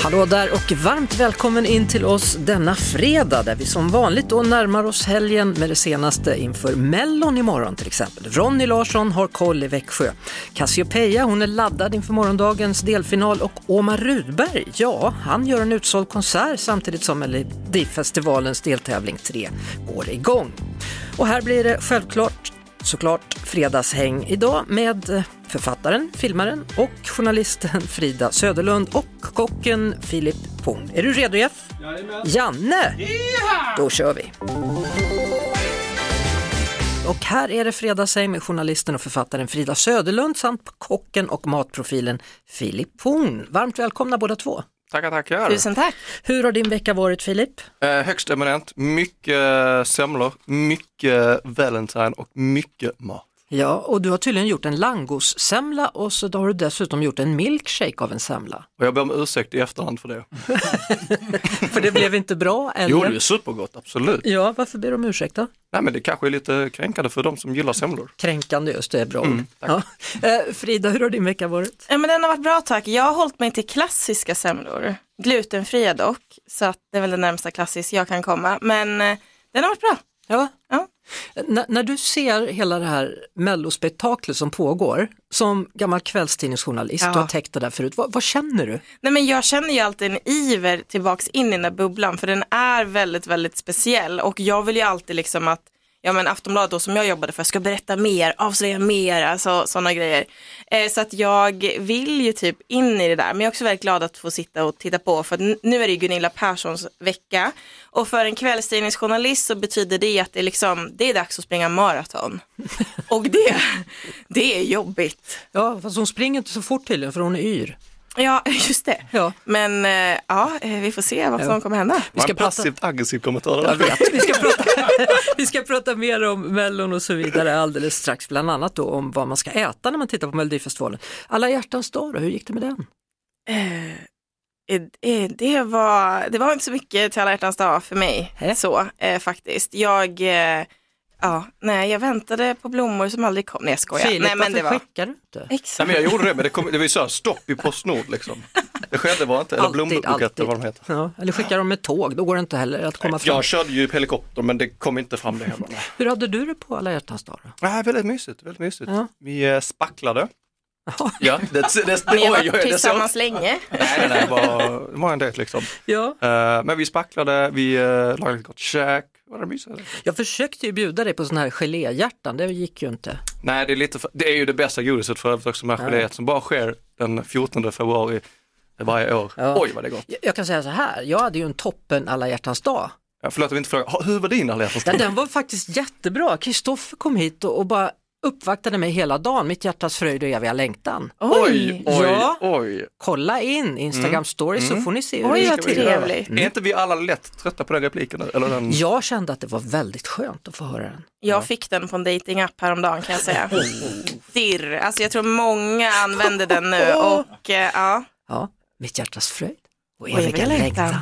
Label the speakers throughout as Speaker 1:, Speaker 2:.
Speaker 1: Hallå där och varmt välkommen in till oss denna fredag där vi som vanligt då närmar oss helgen med det senaste inför Mellon imorgon till exempel. Ronny Larsson har koll i Växjö. Cassiopeia hon är laddad inför morgondagens delfinal och Omar Rudberg, ja han gör en utsåld konsert samtidigt som Melodifestivalens deltävling 3 går igång. Och här blir det självklart såklart fredagshäng idag med författaren, filmaren och journalisten Frida Söderlund och kocken Filip Horn. Är du redo Jeff? Jajamän. Janne! Då kör vi! Och här är det fredagshäng med journalisten och författaren Frida Söderlund samt kocken och matprofilen Filip Horn. Varmt välkomna båda två!
Speaker 2: Tackar, tackar.
Speaker 3: Tusen tack.
Speaker 1: Hur har din vecka varit Filip?
Speaker 2: Eh, högst eminent, mycket eh, semlor, mycket Valentine och mycket mat.
Speaker 1: Ja, och du har tydligen gjort en langossemla och så har du dessutom gjort en milkshake av en semla.
Speaker 2: Och jag ber om ursäkt i efterhand för det.
Speaker 1: För det blev inte bra? Eller?
Speaker 2: Jo, det är supergott, absolut.
Speaker 1: Ja, varför ber du om ursäkt då?
Speaker 2: Nej, men det kanske är lite kränkande för de som gillar semlor.
Speaker 1: Kränkande just, det är bra
Speaker 3: Mm,
Speaker 1: ord. ja. Eh, Frida, hur har din vecka varit?
Speaker 3: Ja, men den har varit bra tack. Jag har hållit mig till klassiska semlor. Glutenfria dock, så att det är väl det närmsta klassiskt jag kan komma. Men eh, den har varit bra.
Speaker 1: Ja.
Speaker 3: Ja.
Speaker 1: N- när du ser hela det här mellospektaklet som pågår, som gammal kvällstidningsjournalist,
Speaker 3: Ja.
Speaker 1: du har täckt det där förut, vad, vad känner du?
Speaker 3: Nej, men jag känner ju alltid en iver tillbaks in i den där bubblan för den är väldigt, väldigt speciell och jag vill ju alltid liksom att ja, men Aftonbladet då, som jag jobbade för ska berätta mer, avslöja mer, alltså sådana grejer. Eh, så att jag vill ju typ in i det där men jag är också väldigt glad att få sitta och titta på för att n- nu är det ju Gunilla Perssons vecka och för en kvällstidningsjournalist så betyder det att det är, liksom, det är dags att springa maraton och det, det är jobbigt.
Speaker 1: Ja, fast hon springer inte så fort tydligen för hon är yr.
Speaker 3: Ja, just det.
Speaker 1: Ja.
Speaker 3: Men eh, ja, eh, vi får se vad som kommer hända.
Speaker 1: Vi ska
Speaker 2: Vad en
Speaker 1: prata-
Speaker 2: passivt aggressiv kommentar. där.
Speaker 1: Vi ska, prata, vi ska prata mer om Mellon och så vidare alldeles strax, bland annat då om vad man ska äta när man tittar på Melodifestivalen. Alla hjärtans dag då, hur gick det med den?
Speaker 3: Eh, eh, eh, det, var, det var inte så mycket till alla hjärtans dag för mig
Speaker 1: Hä?
Speaker 3: så eh, faktiskt. Jag, eh, ja, nej, jag väntade på blommor som aldrig kom. Nej, jag skojar.
Speaker 1: Filip,
Speaker 3: nej, men det
Speaker 1: varför
Speaker 3: var...
Speaker 1: skickar du inte?
Speaker 2: Nej,
Speaker 3: Exakt.
Speaker 2: men jag gjorde det, men det, kom, det var ju så här stopp i Postnord liksom. Det skedde var inte, eller
Speaker 1: Alltid,
Speaker 2: blombuketter
Speaker 1: alltid.
Speaker 2: vad de heter.
Speaker 1: Ja, eller skickar de med tåg, då går det inte heller att komma fram.
Speaker 2: Jag körde ju helikopter men det kom inte fram det heller. Nej,
Speaker 1: Hur hade du det på alla hjärtans dag? Då?
Speaker 2: Nej, väldigt mysigt, väldigt mysigt.
Speaker 1: Ja.
Speaker 2: Vi eh, spacklade.
Speaker 1: Ja.
Speaker 2: Ja, det, det, det,
Speaker 3: Ni har
Speaker 2: oj, oj,
Speaker 3: varit
Speaker 2: det såg-
Speaker 3: tillsammans länge.
Speaker 2: Nej, nej, nej, det var, det var en dejt liksom.
Speaker 1: Ja.
Speaker 2: Eh, men vi spacklade, vi uh, lagade ett gott käk. Var det mysigt?
Speaker 1: Jag försökte ju bjuda dig på sådana här geléhjärtan, det gick ju inte.
Speaker 2: Nej, det är, lite för, det är ju det bästa godiset för övrigt också, med geléet som bara sker den 14 februari varje år.
Speaker 1: Ja.
Speaker 2: Oj vad det är gott.
Speaker 1: Jag, jag kan säga så här, jag hade ju en toppen alla hjärtans dag.
Speaker 2: Ja, förlåt om jag inte frågar, ha, hur var din alla hjärtans
Speaker 1: Ja,
Speaker 2: dag?
Speaker 1: den var faktiskt jättebra. Kristoffer kom hit och, och bara uppvaktade mig hela dagen, mitt hjärtas fröjd och eviga längtan.
Speaker 2: Oj, oj,
Speaker 1: Ja.
Speaker 2: oj.
Speaker 1: Kolla in
Speaker 2: Mm.
Speaker 1: Instagram stories så får ni se hur
Speaker 3: Oj,
Speaker 1: det
Speaker 3: vad
Speaker 1: gick.
Speaker 2: Ska vi göra?
Speaker 3: trevligt.
Speaker 2: Är inte vi alla lätt trötta på den repliken? nu? Eller den...
Speaker 1: Jag kände att det var väldigt skönt att få höra den.
Speaker 3: Jag fick den på en datingapp häromdagen kan jag säga. Dirr. Alltså jag tror många använder den nu och eh, ja.
Speaker 1: Ja, mitt hjärtas fröjd och
Speaker 3: jag
Speaker 1: eviga
Speaker 3: vill längta.
Speaker 1: längtan.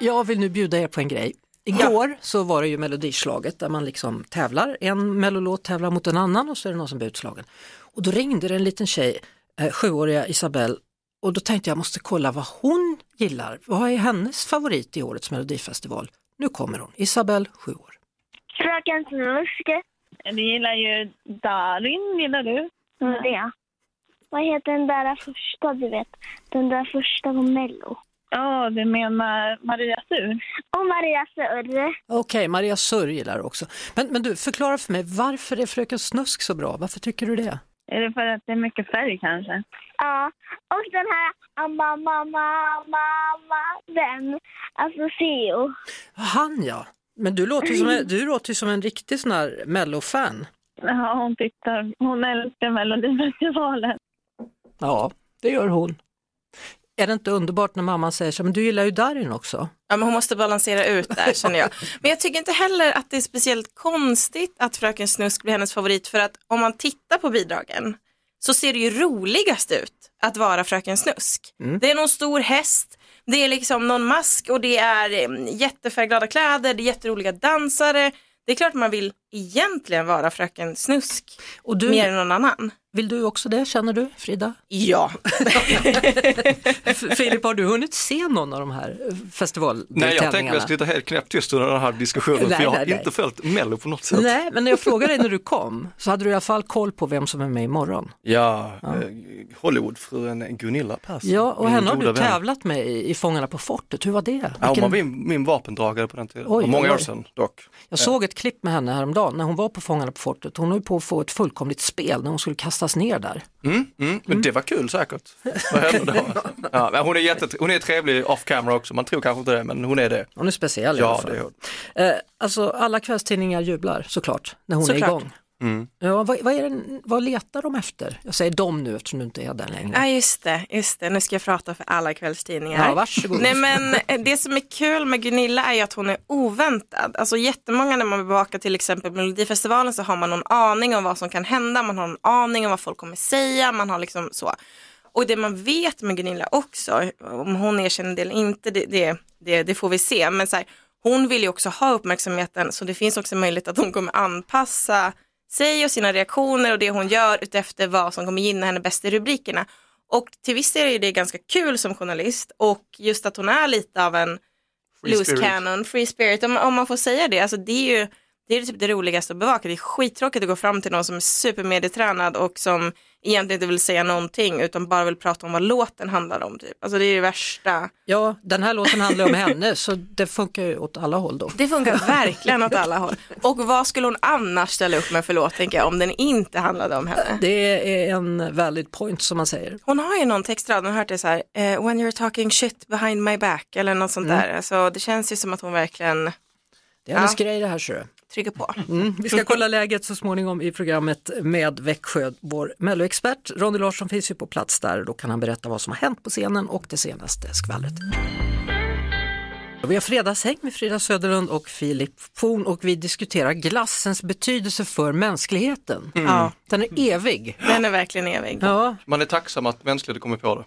Speaker 1: Jag vill nu bjuda er på en grej. Igår så var det ju melodislaget där man liksom tävlar, en mellolåt tävlar mot en annan och så är det någon som blir utslagen. Och då ringde det en liten tjej, eh, sjuåriga Isabelle, och då tänkte jag måste kolla vad hon gillar. Vad är hennes favorit i årets melodifestival? Nu kommer hon, Isabelle, sju år.
Speaker 4: Fröken Snuske.
Speaker 5: Du gillar ju Darin, gillar du?
Speaker 4: Mm. Det. Vad heter den där första du vet? Den där första på Mello.
Speaker 5: Ja, du menar Maria Sur?
Speaker 4: Och Maria Surre.
Speaker 1: Okej, Maria Sörj gillar det också. Men, men du, förklara för mig, varför är Fröken Snusk så bra? Varför tycker du det?
Speaker 5: Är det för att det är mycket färg kanske?
Speaker 4: Ja. Och den här mamma, mamma, mamma, vän. Alltså Theo.
Speaker 1: Han ja, Men du låter ju som en, du låter ju som en riktig sån här mellofan.
Speaker 5: Ja, hon tittar. Hon älskar Melodifestivalen.
Speaker 1: Ja, det gör hon. Är det inte underbart när mamman säger så, men du gillar ju Darin också?
Speaker 3: Ja, men hon måste balansera ut där känner jag. Men jag tycker inte heller att det är speciellt konstigt att Fröken Snusk blir hennes favorit för att om man tittar på bidragen så ser det ju roligast ut att vara Fröken Snusk. Det är någon stor häst, det är liksom någon mask och det är eh, jättefärgglada kläder, det är jätteroliga dansare. Det är klart man vill egentligen vara Fröken Snusk
Speaker 1: Och du,
Speaker 3: mer än någon annan.
Speaker 1: Vill du också det, känner du Frida?
Speaker 3: Ja.
Speaker 1: F- Filip, har du hunnit se någon av de här eh, festivaldeltävlingarna?
Speaker 2: Nej, jag tänkte att jag skulle sitta helt knäpptyst under den här diskussionen
Speaker 1: Nej,
Speaker 2: för jag har
Speaker 1: nej, nej.
Speaker 2: inte följt Mello på något sätt.
Speaker 1: Nej, men när jag frågade dig när du kom så hade du i alla fall koll på vem som är med imorgon.
Speaker 2: Ja, eh, Hollywoodfrun Gunilla Persson.
Speaker 1: Ja, och
Speaker 2: min
Speaker 1: henne har
Speaker 2: goda
Speaker 1: du
Speaker 2: vän.
Speaker 1: tävlat med i, i Fångarna på fortet. Hur var det?
Speaker 2: Mm, Ja, hon var
Speaker 1: Vilken,
Speaker 2: min, min vapendragare på den tiden,
Speaker 1: Oj,
Speaker 2: Oj, många
Speaker 1: oj.
Speaker 2: år sedan dock.
Speaker 1: jag såg ett klipp med henne häromdagen när hon var på Fångarna på fortet. Hon höll på att få ett fullkomligt spel när hon skulle kastas ner där.
Speaker 2: Mm, mm, men det var kul säkert. Vad hände då? Ja, men hon, är jätte, hon är trevlig off camera också, man tror kanske inte det, men hon är det.
Speaker 1: Hon är speciell i alla
Speaker 2: Ja,
Speaker 1: fall.
Speaker 2: det är hon.
Speaker 1: Eh, alltså alla kvällstidningar jublar såklart när hon
Speaker 3: Såklart.
Speaker 1: är igång.
Speaker 2: Mm.
Speaker 1: Ja, vad, vad, är det, vad letar de efter? Jag säger de nu eftersom du inte är där längre.
Speaker 3: Ja just det, just det, nu ska jag prata för alla kvällstidningar.
Speaker 1: Ja, varsågod.
Speaker 3: Nej men eh, det som är kul med Gunilla är ju att hon är oväntad. Alltså jättemånga när man bevakar till exempel Melodifestivalen så har man någon aning om vad som kan hända, man har en aning om vad folk kommer säga, man har liksom så. Och det man vet med Gunilla också, om hon erkänner det eller inte, det, det, det, det får vi se. Men så här, hon vill ju också ha uppmärksamheten så det finns också möjlighet att hon kommer anpassa sig och sina reaktioner och det hon gör utefter vad som kommer gynna henne bäst i rubrikerna. Och till viss del är ju det ganska kul som journalist och just att hon är lite av en
Speaker 2: Free
Speaker 3: loose
Speaker 2: spirit.
Speaker 3: cannon, free spirit, om, om man får säga det. Alltså det är ju det, är typ det roligaste att bevaka. Det är skittråkigt att gå fram till någon som är supermedietränad och som egentligen inte vill säga någonting utan bara vill prata om vad låten handlar om. Typ. Alltså det är det värsta.
Speaker 1: Ja, den här låten handlar om henne så det funkar ju åt alla håll då.
Speaker 3: Det funkar verkligen åt alla håll. Och vad skulle hon annars ställa upp med för låt tänker jag om den inte handlade om henne?
Speaker 1: Det är en valid point som man säger.
Speaker 3: Hon har ju någon textrad, hon har hört det så här, eh, when you're talking shit behind my back eller något sånt
Speaker 1: Mm.
Speaker 3: där. Alltså det känns ju som att hon verkligen
Speaker 1: Det är hennes
Speaker 3: Ja.
Speaker 1: grej det här ser du.
Speaker 3: trycker på.
Speaker 1: Mm. Vi ska kolla läget så småningom i programmet med Växjö, vår Melloexpert. Ronny Larsson finns ju på plats där och då kan han berätta vad som har hänt på scenen och det senaste skvallret. Vi har fredagshäng med Frida Söderlund och Filip Forn och vi diskuterar glassens betydelse för mänskligheten.
Speaker 3: Ja,
Speaker 1: Den är evig.
Speaker 3: den är verkligen evig.
Speaker 1: Ja,
Speaker 2: Man är tacksam att mänskligheten kommer på det.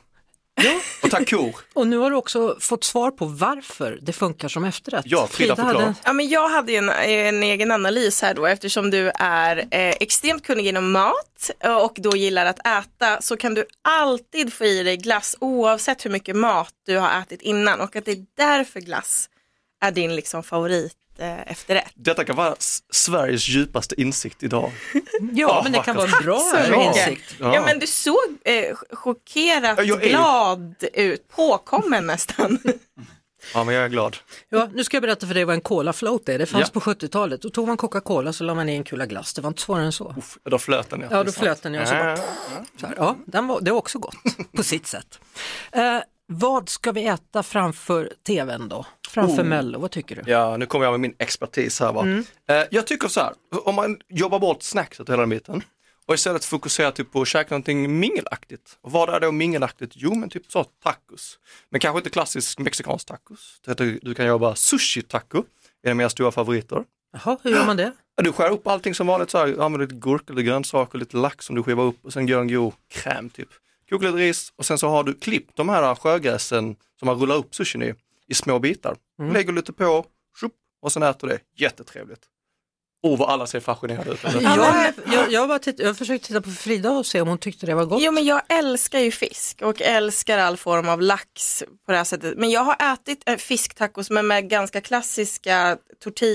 Speaker 2: Och tack kor.
Speaker 1: och nu har du också fått svar på varför det funkar som efterrätt.
Speaker 2: Ja, Frida
Speaker 1: hade-
Speaker 2: förklarar.
Speaker 3: Ja, men jag hade ju en, en egen analys här då eftersom du är eh, extremt kunnig inom mat eh, och då gillar att äta så kan du alltid få i dig glass oavsett hur mycket mat du har ätit innan och att det är därför glass är din liksom favorit eh, efterrätt.
Speaker 2: Detta kan vara S- Sveriges djupaste insikt idag.
Speaker 1: Ja,
Speaker 2: Ah,
Speaker 1: men det kan vara
Speaker 2: vackert.
Speaker 1: en bra
Speaker 3: Tack så mycket.
Speaker 1: insikt.
Speaker 3: Ja. men du såg eh, ch- chockerat
Speaker 2: Ja, jag är-
Speaker 3: glad ut, påkommen nästan.
Speaker 2: Ja, men jag är glad.
Speaker 1: Ja, nu ska jag berätta för dig vad en cola float är. Det fanns
Speaker 2: Ja.
Speaker 1: på 70-talet. Då tog man Coca-Cola så la man i en kula glass. Det var inte svårare än så.
Speaker 2: Uff, då flöt den.
Speaker 1: Ja, då flöt den och
Speaker 2: Äh.
Speaker 1: så bara, så här, ja, den var, det var också gott på sitt sätt. Eh, vad ska vi äta framför tvn då? Framför Mello, vad tycker du?
Speaker 2: Ja, nu kommer jag med min expertis här va. Eh, jag tycker så här, om man jobbar bort snackset och hela den biten och istället fokuserar typ på att käka någonting mingelaktigt. Och vad är då mingelaktigt? Jo, men typ så tacos. Men kanske inte klassisk mexikansk tacos. Det heter- Du kan jobba sushi taco, är en av mina stora favoriter.
Speaker 1: Jaha, hur gör man det?
Speaker 2: Ja, Du skär upp allting som vanligt så här, använder lite gurka, lite grönsaker, lite lax som du skivar upp och sen gör en god kräm typ. Kokar lite ris och sen så har du klippt de här sjögräsen som man rullar upp sushin i, i små bitar.
Speaker 3: Mm.
Speaker 2: Lägger lite på, tjup, och sen äter du det. Jättetrevligt. Oh vad alla ser fascinerade ut. av det.
Speaker 1: Jag, jag, jag, var titt, jag försökte titta på Frida och se om hon tyckte det var gott.
Speaker 3: Jo men jag älskar ju fisk och älskar all form av lax på det här sättet. Men jag har ätit eh, fisktacos men med ganska klassiska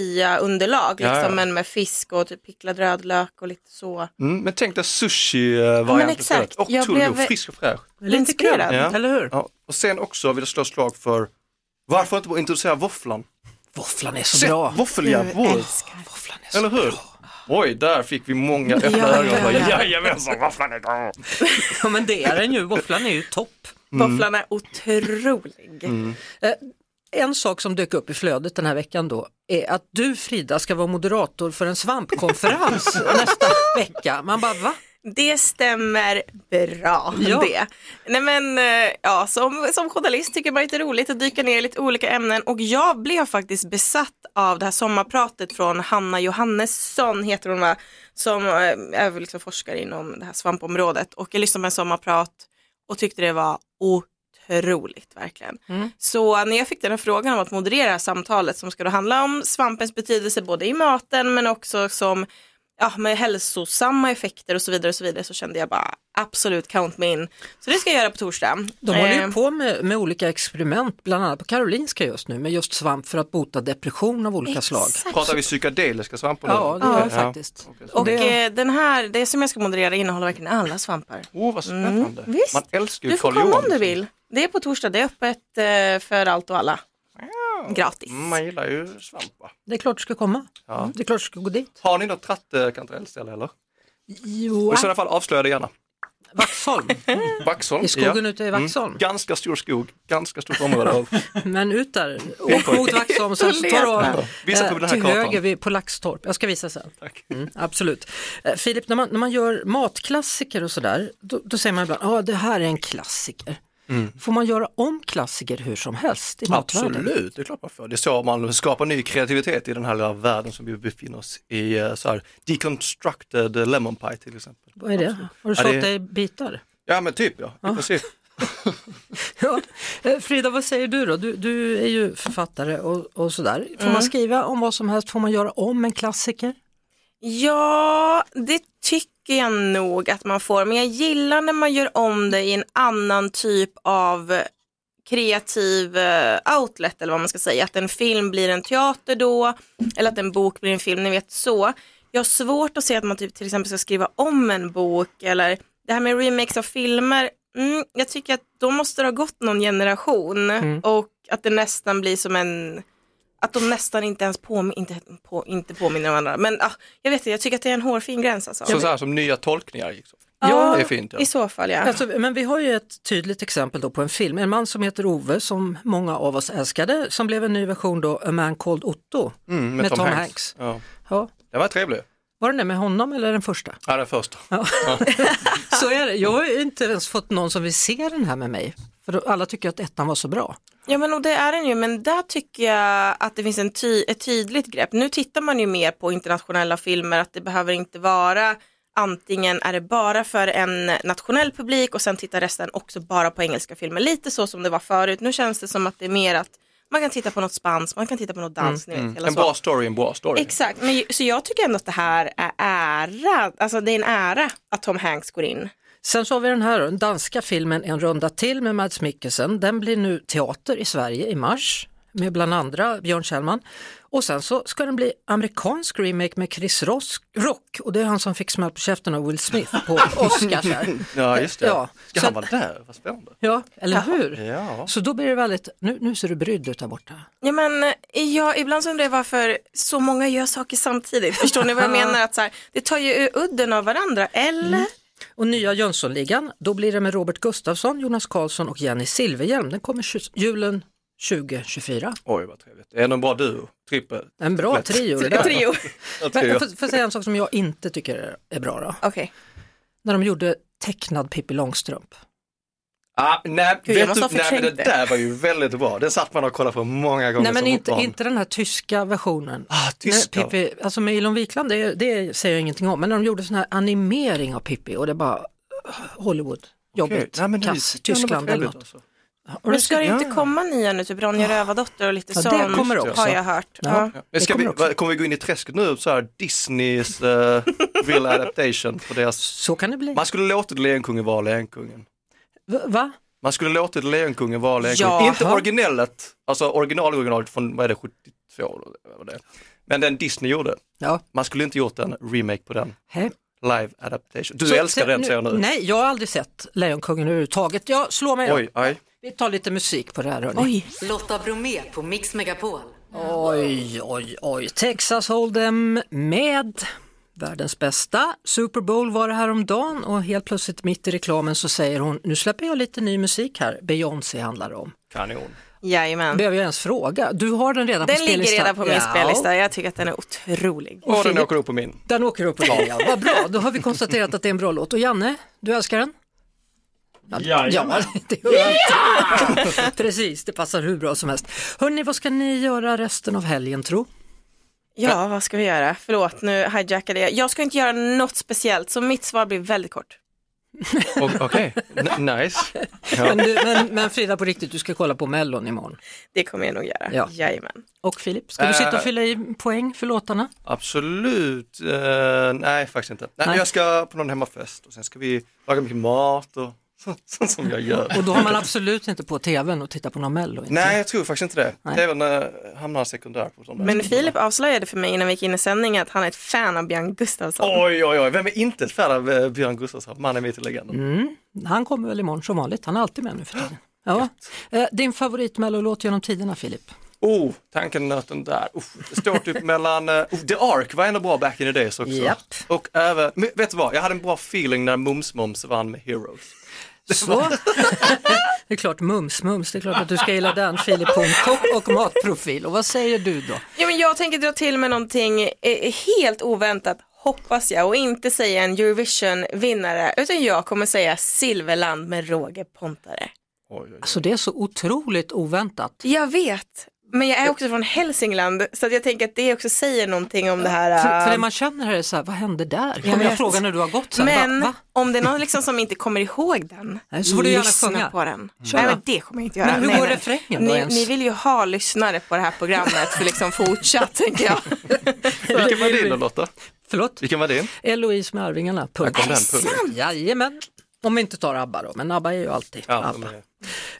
Speaker 3: tortilla-underlag.
Speaker 2: Ja,
Speaker 3: Liksom,
Speaker 2: ja.
Speaker 3: Men med fisk och typ picklad rödlök och lite så.
Speaker 2: Mm, men tänk dig sushi-varianten.
Speaker 3: exakt.
Speaker 2: Och
Speaker 3: Jag
Speaker 2: tullo,
Speaker 3: blev- Mm,
Speaker 2: frisk och fräsch.
Speaker 1: Lite
Speaker 3: inspirerad.
Speaker 1: kul, Eller hur?
Speaker 2: Ja. Och sen också vill jag slå ett slag för varför inte bara introducera våfflan?
Speaker 1: Våfflan är så
Speaker 2: Sätt
Speaker 1: bra.
Speaker 2: våffeljärn på bordet.
Speaker 1: Våfflan är så
Speaker 2: Eller hur? Oj, där fick vi många öppna
Speaker 3: Ja.
Speaker 2: ögon. Bara, Jajamensan, vad fan är det?
Speaker 1: Ja,
Speaker 2: Mm.
Speaker 1: men det är den ju. Våfflan är ju topp.
Speaker 3: Våfflan är otrolig.
Speaker 1: Eh, En sak som dök upp i flödet den här veckan då är att du Frida ska vara moderator för en svampkonferens nästa vecka. Man bara va?
Speaker 3: Det stämmer bra
Speaker 1: Ja.
Speaker 3: det. Nej men eh, ja, som, som journalist tycker man det är roligt att dyka ner i lite olika ämnen och jag blev faktiskt besatt av det här sommarpratet från Hanna Johannesson heter hon va, som eh, är liksom forskare inom det här svampområdet och jag lyssnade på en sommarprat och tyckte det var otroligt verkligen.
Speaker 1: Mm.
Speaker 3: Så när jag fick den här frågan om att moderera det här samtalet som ska då handla om svampens betydelse både i maten men också som ja, med hälsosamma effekter och så vidare och så vidare så kände jag bara absolut count me in. Så det ska jag göra på torsdag.
Speaker 1: De håller
Speaker 3: Eh,
Speaker 1: ju på med, med olika experiment, bland annat på Karolinska just nu, med just svamp för att bota depression av olika slag.
Speaker 2: Pratar vi psykedeliska svampar nu?
Speaker 1: Ja, det är det faktiskt.
Speaker 3: Och
Speaker 1: Det-
Speaker 3: eh, den här, det som jag ska moderera innehåller verkligen alla svampar.
Speaker 2: Åh, Oh, vad
Speaker 1: Mm,
Speaker 2: spännande.
Speaker 3: visst.
Speaker 2: Man älskar ju
Speaker 3: Du får
Speaker 2: Karl
Speaker 3: komma om du
Speaker 2: Johan.
Speaker 3: vill. Det är på torsdag, det är öppet eh, för allt och alla. Gratis.
Speaker 2: Mm, Man gillar ju svamp va?
Speaker 1: Det är klart du ska komma.
Speaker 2: Ja.
Speaker 1: Det är klart du ska gå dit.
Speaker 2: Har ni något trattkantarellställe eller?
Speaker 1: Jo,
Speaker 2: Och I sådana fall avslöja det gärna.
Speaker 1: Vaxholm,
Speaker 2: Vaxholm.
Speaker 1: i skogen
Speaker 2: ja. Mm.
Speaker 1: ute i Vaxholm.
Speaker 2: Ganska stor skog, ganska stort område. av-
Speaker 1: Men ut där, åk mot Vaxholm, sen så tar du av
Speaker 2: Visa på
Speaker 1: eh,
Speaker 2: den här
Speaker 1: till höger
Speaker 2: kartan.
Speaker 1: vid, på Laxtorp. Jag ska visa sen.
Speaker 2: Tack.
Speaker 1: Mm, absolut. Eh, Filip, när man, när man gör matklassiker och sådär, då, då säger man ibland, ja det här är en klassiker. Får man göra om klassiker hur som helst i matvärlden?
Speaker 2: Mm. Absolut, det är klart man får. Det är så man skapar ny kreativitet i den här lilla världen som vi befinner oss i. eh, Så här, deconstructed eh, lemon pie till exempel.
Speaker 1: Vad är det? Har du
Speaker 2: Ja,
Speaker 1: sålt
Speaker 2: det-
Speaker 1: dig i bitar?
Speaker 2: Ja men typ ja, i princip.
Speaker 1: Ja. Eh, Frida, vad säger du då? Du, du är ju författare och, och sådär. Får man skriva om vad som helst? Får man göra om en klassiker?
Speaker 3: Ja, det tycker jag nog att man får. Men jag gillar när man gör om det i en annan typ av kreativ eh, outlet eller vad man ska säga. Att en film blir en teater då eller att en bok blir en film, ni vet så. Jag har svårt att se att man typ, till exempel ska skriva om en bok eller det här med remakes av filmer. Mm, jag tycker att då måste det ha gått någon generation
Speaker 2: Mm.
Speaker 3: och att det nästan blir som en att de nästan inte ens påmin- inte, på, inte påminner om varandra. Men ah, jag vet inte, jag tycker att det är en hårfin gräns alltså.
Speaker 2: Så, så här som nya tolkningar. Liksom.
Speaker 3: Ja,
Speaker 2: det är fint. Ja.
Speaker 3: I så fall ja.
Speaker 1: Alltså, men vi har ju ett tydligt exempel då på en film. En man som heter Ove, som många av oss älskade, som blev en ny version då, A Man Called Otto,
Speaker 2: Mm,
Speaker 1: med, Tom, Hanks.
Speaker 2: Ja.
Speaker 1: Ja.
Speaker 2: Det var trevligt.
Speaker 1: Var den där med honom eller den första?
Speaker 2: Ja, den första.
Speaker 1: Så är det. Jag har ju inte ens fått någon som vill se den här med mig. För då, alla tycker att ettan var så bra.
Speaker 3: Ja men och det är den ju, men där tycker jag att det finns en ty- ett tydligt grepp. Nu tittar man ju mer på internationella filmer, att det behöver inte vara antingen är det bara för en nationell publik och sen tittar resten också bara på engelska filmer. Lite så som det var förut, nu känns det som att det är mer att man kan titta på något spanskt, man kan titta på något danskt, ni vet hela
Speaker 2: En
Speaker 3: så.
Speaker 2: bra story, en bra story.
Speaker 3: Exakt, men, ju- så jag tycker ändå att det här är ära, alltså det är en ära att Tom Hanks går in.
Speaker 1: Sen så har vi den här då, den danska filmen En runda till med Mads Mikkelsen. Den blir nu teater i Sverige i mars med bland andra Björn Kjellman. Och sen så ska den bli amerikansk remake med Chris Ross, Rock och det är han som fick smäll på käften av Will Smith på Oscars. här.
Speaker 2: Ja, just det.
Speaker 1: Ja.
Speaker 2: Ska
Speaker 1: Så-
Speaker 2: han vara där? Vad spännande.
Speaker 1: Ja, eller hur?
Speaker 2: Ja.
Speaker 1: Så då blir det väldigt, nu, nu ser du brydd ut där borta.
Speaker 3: Ja men eh, jag, ibland så undrar jag varför så många gör saker samtidigt. Förstår ni vad jag menar? Att så här, det tar ju udden av varandra, eller?
Speaker 1: Mm. Och nya Jönssonligan, då blir det med Robert Gustafsson, Jonas Karlsson och Jenny Silverhjelm. Den kommer tjus- julen 2024.
Speaker 2: Oj, vad trevligt. Det är en bra duo, trippel.
Speaker 1: En bra
Speaker 2: Lätt.
Speaker 1: trio det där.
Speaker 3: Trio.
Speaker 2: Jag
Speaker 1: Men
Speaker 2: tror
Speaker 1: jag
Speaker 2: jag.
Speaker 1: får, får säga en sak som jag inte tycker är bra då.
Speaker 3: Okej.
Speaker 1: När de gjorde tecknad Pippi Långstrump.
Speaker 2: Ah, nej,
Speaker 3: Gud, jag
Speaker 2: vet
Speaker 3: måste
Speaker 2: du,
Speaker 3: ha
Speaker 2: nej, men det
Speaker 3: förträngt det.
Speaker 2: där var ju väldigt bra. Den satt man och kollade på många gånger
Speaker 1: Nej men
Speaker 2: som
Speaker 1: inte,
Speaker 2: barn.
Speaker 1: inte den här tyska versionen.
Speaker 2: Ah, tyska.
Speaker 1: Nej, Pippi, alltså med Ilon Wikland, det, det säger jag ingenting om, men när de gjorde sån här animering av Pippi och det bara "Åh, Hollywood,
Speaker 2: Okej.
Speaker 1: jobbigt,
Speaker 2: Nej, men det är-
Speaker 1: kass,
Speaker 2: det är ändå
Speaker 1: Tyskland eller
Speaker 2: trevligt
Speaker 1: något.
Speaker 2: alltså.
Speaker 1: Har du
Speaker 3: Men ska det
Speaker 1: sett-
Speaker 3: inte komma nya nu, typ Ronja Rövardotter och lite
Speaker 1: Ja, det
Speaker 3: sånt?
Speaker 1: kommer också.
Speaker 3: Har jag hört.
Speaker 1: Ja.
Speaker 3: Ja.
Speaker 2: Ja.
Speaker 1: Det
Speaker 2: Men ska
Speaker 1: kommer
Speaker 2: vi,
Speaker 1: också.
Speaker 2: va- kommer vi gå in i träsket nu, så här Disneys uh, real adaptation på deras...
Speaker 1: Så kan det bli.
Speaker 2: Man skulle låtit Lejonkungen vara Lejonkungen.
Speaker 1: V- Va?
Speaker 2: Man skulle låtit Lejonkungen vara Lejonkungen.
Speaker 3: Jaha.
Speaker 2: Inte originalet, alltså original originalet från, vad är det, 72? eller vad det är. Men den Disney gjorde.
Speaker 1: Ja.
Speaker 2: Man skulle inte gjort en remake på den.
Speaker 1: Hej.
Speaker 2: Live adaptation. Du
Speaker 1: Så-
Speaker 2: älskar
Speaker 1: se-
Speaker 2: den säger jag nu.
Speaker 1: Nej, jag har aldrig sett Lejonkungen överhuvudtaget. Jag slår mig
Speaker 2: Oj, aj.
Speaker 1: Vi tar lite musik på det här hörni. Oj.
Speaker 6: Lotta Bromé på Mix Megapol.
Speaker 1: Oj, oj, oj. Texas Hold'em med världens bästa. Super Bowl var det häromdagen och helt plötsligt mitt i reklamen så säger hon, nu släpper jag lite ny musik här, Beyoncé handlar det om.
Speaker 2: Kanon.
Speaker 3: Jajamän.
Speaker 1: Behöver jag ens fråga? Du har den redan på
Speaker 3: Den ligger
Speaker 1: spellistan.
Speaker 3: redan på min
Speaker 1: Ja.
Speaker 3: spellista. Jag tycker att den är otrolig.
Speaker 2: Och den åker upp på min.
Speaker 1: Den åker upp på dig, ja. Vad bra, då har vi konstaterat att det är en bra låt. Och Janne, du älskar den? Ja, ja det gör jag. Precis, det passar hur bra som helst. Hörni, vad ska ni göra resten av helgen tro?
Speaker 3: Ja, vad ska vi göra? Förlåt, nu hijackade jag. Jag ska inte göra något speciellt, så mitt svar blir väldigt kort.
Speaker 2: Och- Okej, N- nice.
Speaker 1: Men, du, men, men Frida, på riktigt, du ska kolla på Mellon imorgon.
Speaker 3: Det kommer jag nog göra.
Speaker 1: Ja.
Speaker 3: Jajamän.
Speaker 1: Och Filip, ska du
Speaker 2: Äh.
Speaker 1: sitta och fylla i poäng för låtarna?
Speaker 2: Absolut, Eh, nej faktiskt inte. Nej,
Speaker 1: Nej.
Speaker 2: Jag ska på någon hemmafest och sen ska vi laga mycket mat och sånt som jag gör.
Speaker 1: Och då har man absolut inte på tvn och titta på någon Mello. inte?
Speaker 2: Nej, jag tror faktiskt inte det.
Speaker 1: Nej.
Speaker 2: Tvn eh, hamnar sekundär på de där.
Speaker 3: Men Filip avslöjade för mig innan vi gick in i sändning att han är ett fan av Björn Gustafsson.
Speaker 2: Oj, oj, oj, vem är inte ett fan av eh, Björn Gustafsson? Mannen mitt i legenden.
Speaker 1: Han kommer väl imorgon som vanligt, han är alltid med nu för tiden. Ja. Eh, Din favorit Mellolåt genom tiderna, Filip?
Speaker 2: Oh, tankenöten där. Uff, det står typ mellan, eh, oh, The Ark var ändå bra back in the days också.
Speaker 1: Japp.
Speaker 2: Och även, men vet du vad, jag hade en bra feeling när Mums Moms vann med Heroes.
Speaker 1: Så. Det är klart, mums, mums, det är klart att du ska gilla den. Filip hon kock och matprofil. Och vad säger du då?
Speaker 3: Ja, men jag tänker dra till med någonting eh, helt oväntat, hoppas jag, och inte säga en Eurovision-vinnare, utan jag kommer säga Silverland med Roger Pontare.
Speaker 2: Oj, oj, oj.
Speaker 1: Alltså det är så otroligt oväntat.
Speaker 3: Jag vet, men jag är också från Hälsingland, så att jag tänker att det också säger någonting om det här.
Speaker 1: För, för
Speaker 3: eh,
Speaker 1: det man känner här är så här, vad hände där? Kommer jag
Speaker 3: vet.
Speaker 1: fråga när du har gått sen?
Speaker 3: Men
Speaker 1: Va? Va?
Speaker 3: om det är någon liksom som inte kommer ihåg den,
Speaker 1: Nej, så får du gärna
Speaker 3: lyssna
Speaker 1: sjunga. Mm.
Speaker 3: på den.
Speaker 1: Kör
Speaker 3: Nej,
Speaker 1: då.
Speaker 3: men det kommer jag inte göra.
Speaker 1: Men hur
Speaker 3: nej,
Speaker 1: går
Speaker 3: nej.
Speaker 1: refrängen då
Speaker 3: ni,
Speaker 1: ens?
Speaker 3: ni vill ju ha lyssnare på det här programmet för liksom fortsatt, tänker jag.
Speaker 2: Vilken var din då Lotta?
Speaker 1: Förlåt?
Speaker 2: Vilken var din?
Speaker 1: Eloise med Arvingarna, punkt.
Speaker 2: Här kom den, punkt.
Speaker 1: Jajamän. Om vi inte tar ABBA då, men ABBA är ju alltid
Speaker 2: Ja,
Speaker 1: ABBA.
Speaker 2: men, eh,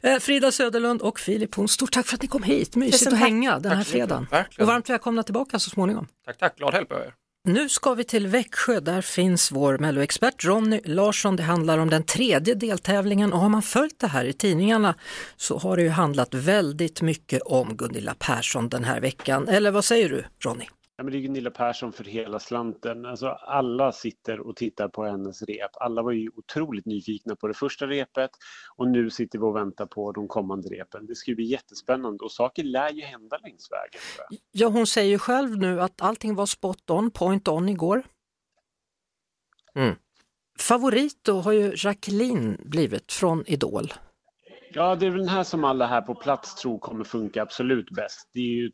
Speaker 1: Eh, Frida Söderlund och Filip Horn, stort tack för att ni kom hit. Mysigt
Speaker 3: Tusen
Speaker 1: att
Speaker 3: tack.
Speaker 1: hänga den här fredagen.
Speaker 2: Verkligen.
Speaker 1: Och varmt välkomna tillbaka så småningom.
Speaker 2: tack, tack, glad helg på er.
Speaker 1: Nu ska vi till Växjö, där finns vår Melloexpert Ronny Larsson. Det handlar om den tredje deltävlingen och har man följt det här i tidningarna så har det ju handlat väldigt mycket om Gunilla Persson den här veckan. Eller vad säger du Ronny?
Speaker 7: Ja, men det är Gunilla Persson för hela slanten. Alltså, alla sitter och tittar på hennes rep. Alla var ju otroligt nyfikna på det första repet och nu sitter vi och väntar på de kommande repen. Det ska ju bli jättespännande och saker lär ju hända längs vägen. Tror jag.
Speaker 1: Ja, hon säger ju själv nu att allting var spot on, point on igår. Favorit då har ju Jacqueline blivit från Idol.
Speaker 7: Ja, det är väl den här som alla här på plats tror kommer funka absolut bäst. Det är ju ett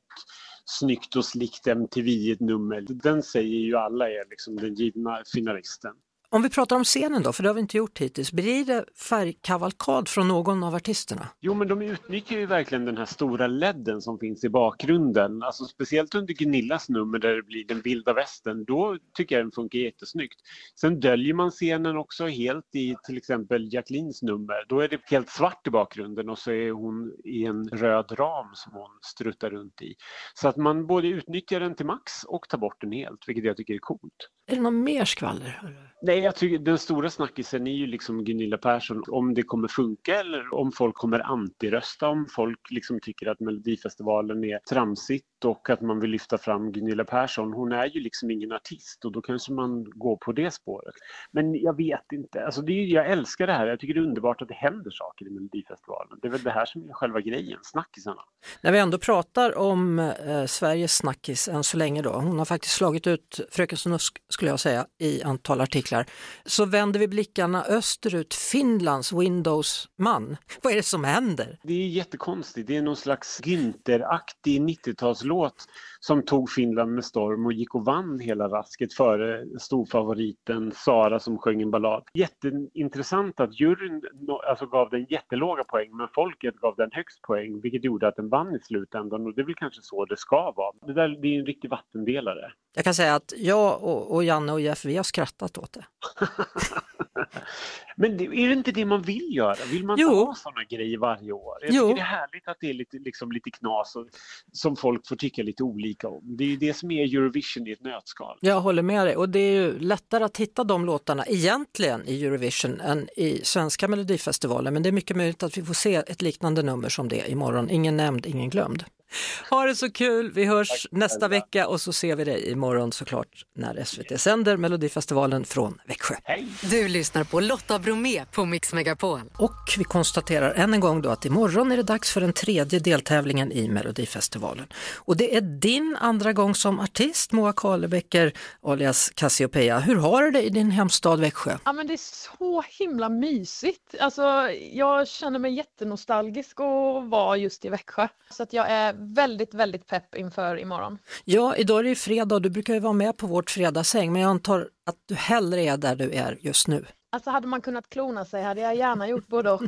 Speaker 7: snyggt och slikt MTV-nummer. Den säger ju alla är liksom den givna finalisten.
Speaker 1: Om vi pratar om scenen då, för det har vi inte gjort hittills, blir det färgkavalkad från någon av artisterna?
Speaker 7: Jo, men de utnyttjar ju verkligen den här stora ledden som finns i bakgrunden. Alltså speciellt under Gunillas nummer där det blir den vilda västern. Då tycker jag den funkar jättesnyggt. Sen döljer man scenen också helt i till exempel Jacquelines nummer. Då är det helt svart i bakgrunden och så är hon i en röd ram som hon struttar runt i. Så att man både utnyttjar den till max och tar bort den helt, vilket jag tycker är coolt.
Speaker 1: Är det någon mer skvaller?
Speaker 7: Nej, jag tycker den stora snackisen är ju liksom Gunilla Persson, om det kommer funka eller om folk kommer antirösta, om folk liksom tycker att Melodifestivalen är tramsigt och att man vill lyfta fram Gunilla Persson. Hon är ju liksom ingen artist och då kanske man går på det spåret. Men jag vet inte, alltså det är, ju- jag älskar det här, jag tycker det är underbart att det händer saker i Melodifestivalen. Det är väl det här som är själva grejen, snackisarna.
Speaker 1: När vi ändå pratar om eh, Sveriges snackis än så länge då, hon har faktiskt slagit ut Fröken Snusk skulle jag säga i antal artiklar, så vänder vi blickarna österut, Finlands Windows-man. Vad är det som händer?
Speaker 7: Det är jättekonstigt. Det är någon slags Günther-aktig 90-talslåt som tog Finland med storm och gick och vann hela rasket före storfavoriten Sara som sjöng en ballad. Jätteintressant att juryn no- alltså gav den jättelåga poäng men folket gav den högst poäng vilket gjorde att den vann i slutändan och det är väl kanske så det ska vara. Det, där, det är en riktig vattendelare.
Speaker 1: Jag kan säga att jag och, och Janne och Jeff, vi har skrattat åt det.
Speaker 7: Men det, är det inte det man vill göra? Vill man
Speaker 1: Jo.
Speaker 7: inte ha sådana grejer varje år? Jag
Speaker 1: Jo.
Speaker 7: tycker det är härligt att det är lite, liksom, lite knas och, som folk får tycka lite olika om. Det är ju det som är Eurovision i ett nötskal.
Speaker 1: Jag håller med dig och det är ju lättare att hitta de låtarna egentligen i Eurovision än i svenska melodifestivalen men det är mycket möjligt att vi får se ett liknande nummer som det imorgon. Ingen nämnd, ingen glömd.
Speaker 8: Ha det så kul, vi hörs nästa vecka och så ser vi dig imorgon såklart när SVT sänder Melodifestivalen från Växjö.
Speaker 6: Du lyssnar på Lotta Bromé på Mix Megapol.
Speaker 8: Och vi konstaterar än en gång då att imorgon är det dags för den tredje deltävlingen i Melodifestivalen. Och det är din andra gång som artist, Moa Karlebäcker alias Cassiopeia. Hur har du det i din hemstad Växjö?
Speaker 1: Ja men det är så himla mysigt. Alltså jag känner mig jättenostalgisk att vara just i Växjö. Så att jag är väldigt, väldigt pepp inför imorgon.
Speaker 8: Ja, idag är det ju fredag och du brukar ju vara med på vårt fredagshäng, men jag antar att du hellre är där du är just nu.
Speaker 1: Alltså hade man kunnat klona sig hade jag gärna gjort både och.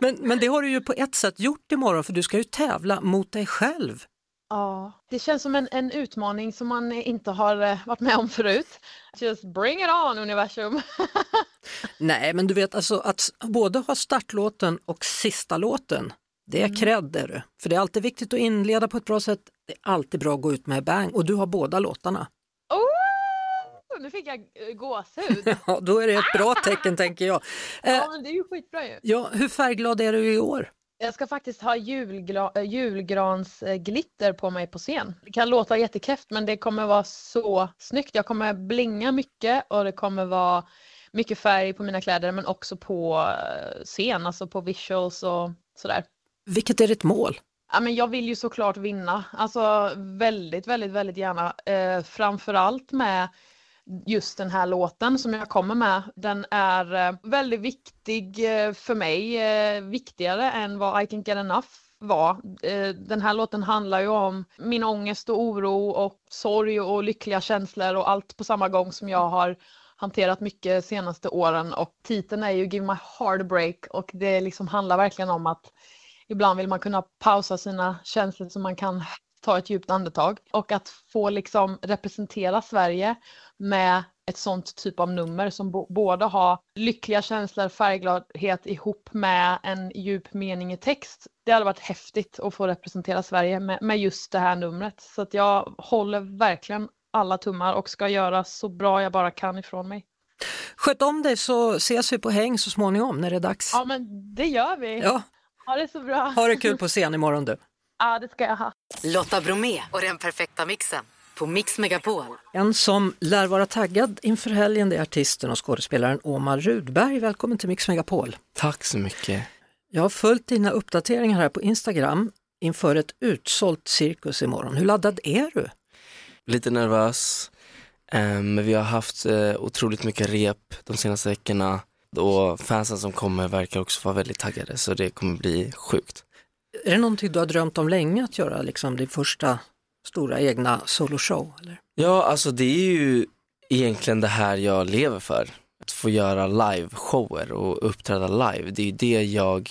Speaker 8: Men, men det har du ju på ett sätt gjort imorgon, för du ska ju tävla mot dig själv.
Speaker 1: Ja, det känns som en, en utmaning som man inte har eh, varit med om förut. Just bring it on universum!
Speaker 8: Nej, men du vet alltså att s- både ha startlåten och sista låten, det är cred är du. För det är alltid viktigt att inleda på ett bra sätt, det är alltid bra att gå ut med bang och du har båda låtarna.
Speaker 1: Oh, nu fick jag eh, gåshud.
Speaker 8: Ja, då är det ett bra tecken tänker jag. Eh,
Speaker 1: Ja, men det är ju skitbra ju.
Speaker 8: ja, hur färgglad är du i år?
Speaker 1: Jag ska faktiskt ha julgra- eh, julgransglitter på mig på scen. Det kan låta jättekräft men det kommer vara så snyggt. Jag kommer blinga mycket och det kommer vara mycket färg på mina kläder men också på eh, scen, alltså på visuals och sådär.
Speaker 8: Vilket är ditt mål?
Speaker 1: Ja, men jag vill ju såklart vinna, alltså väldigt, väldigt, väldigt gärna. Eh, framförallt med just den här låten som jag kommer med. Den är eh, väldigt viktig eh, för mig, eh, viktigare än vad I can get enough var. Eh, den här låten handlar ju om min ångest och oro och sorg och lyckliga känslor och allt på samma gång som jag har hanterat mycket senaste åren och titeln är ju Give My Heart a Break och det liksom handlar verkligen om att Ibland vill man kunna pausa sina känslor så man kan ta ett djupt andetag och att få liksom representera Sverige med ett sånt typ av nummer som bo- både har lyckliga känslor, färggladhet ihop med en djup mening i text. Det hade varit häftigt att få representera Sverige med, med just det här numret. Så att jag håller verkligen alla tummar och ska göra så bra jag bara kan ifrån mig.
Speaker 8: Sköt om dig så ses vi på häng så småningom när det är dags.
Speaker 1: Ja men det gör vi!
Speaker 8: Ja,
Speaker 1: Ha det så bra!
Speaker 8: ha det kul på scen imorgon du.
Speaker 1: Ja det ska jag ha.
Speaker 6: Lotta Bromé och den perfekta mixen på Mix Megapol.
Speaker 8: En som lär vara taggad inför helgen det är artisten och skådespelaren Omar Rudberg. Välkommen till Mix Megapol.
Speaker 9: Tack så mycket.
Speaker 8: Jag har följt dina uppdateringar här på Instagram inför ett utsålt cirkus imorgon. Hur laddad är du?
Speaker 9: Lite nervös, eh, men vi har haft eh, otroligt mycket rep de senaste veckorna och fansen som kommer verkar också vara väldigt taggade så det kommer bli sjukt.
Speaker 8: Är det någonting du har drömt om länge att göra, liksom din första stora egna soloshow? Eller?
Speaker 9: Ja, alltså det är ju egentligen det här jag lever för. Att få göra liveshower och uppträda live. Det är ju det jag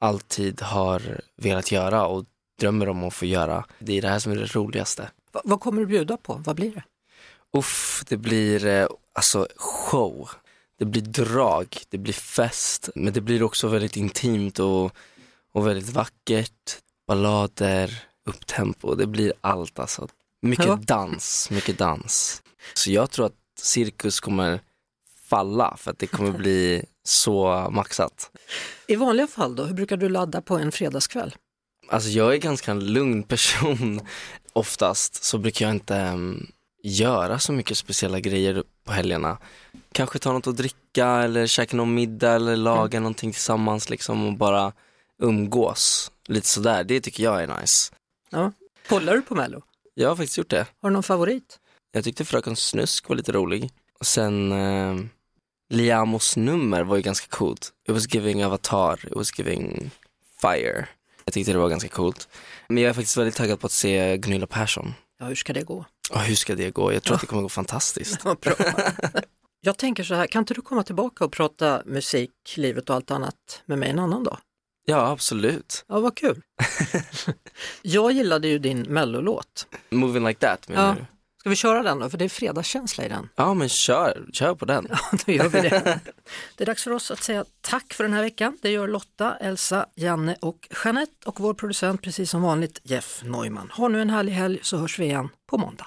Speaker 9: alltid har velat göra och drömmer om att få göra. Det är det här som är det roligaste.
Speaker 8: Va- vad kommer du bjuda på? Vad blir det?
Speaker 9: Uff, det blir eh, alltså show. Det blir drag, det blir fest, men det blir också väldigt intimt och, och väldigt vackert. Ballader, upptempo, det blir allt alltså. Mycket
Speaker 8: Ja.
Speaker 9: dans, mycket dans. Så jag tror att cirkus kommer falla för att det kommer bli så maxat.
Speaker 8: I vanliga fall då, hur brukar du ladda på en fredagskväll?
Speaker 9: Alltså jag är ganska en lugn person oftast, så brukar jag inte ehm, göra så mycket speciella grejer på helgerna. Kanske ta något att dricka eller käka någon middag eller
Speaker 8: Mm.
Speaker 9: laga någonting tillsammans liksom och bara umgås. Lite sådär, det tycker jag är nice.
Speaker 8: Ja. Kollar du på Mello?
Speaker 9: Jag har faktiskt gjort det.
Speaker 8: Har du någon favorit?
Speaker 9: Jag tyckte Fröken Snusk var lite rolig. Och sen ehm, Liamos nummer var ju ganska coolt. It was giving Avatar, it was giving Fire. Jag tyckte det var ganska coolt. Men jag är faktiskt väldigt taggad på att se Gunilla Persson.
Speaker 8: Ja, hur ska det gå?
Speaker 9: Och hur ska det gå? Jag tror att det kommer gå fantastiskt.
Speaker 8: Vad bra. Jag tänker så här, kan inte du komma tillbaka och prata musik, livet och allt annat med mig en annan dag?
Speaker 9: Ja, absolut.
Speaker 8: Ja, vad kul. jag gillade ju din mellolåt.
Speaker 9: Moving like that menar
Speaker 8: Ja.
Speaker 9: du?
Speaker 8: Ska vi köra den då? För det är fredagskänsla i den.
Speaker 9: Ja, men kör, kör på den.
Speaker 8: Då gör vi det. Det är dags för oss att säga tack för den här veckan. Det gör Lotta, Elsa, Janne och Jeanette och vår producent precis som vanligt Jeff Neumann. Ha nu en härlig helg så hörs vi igen på måndag.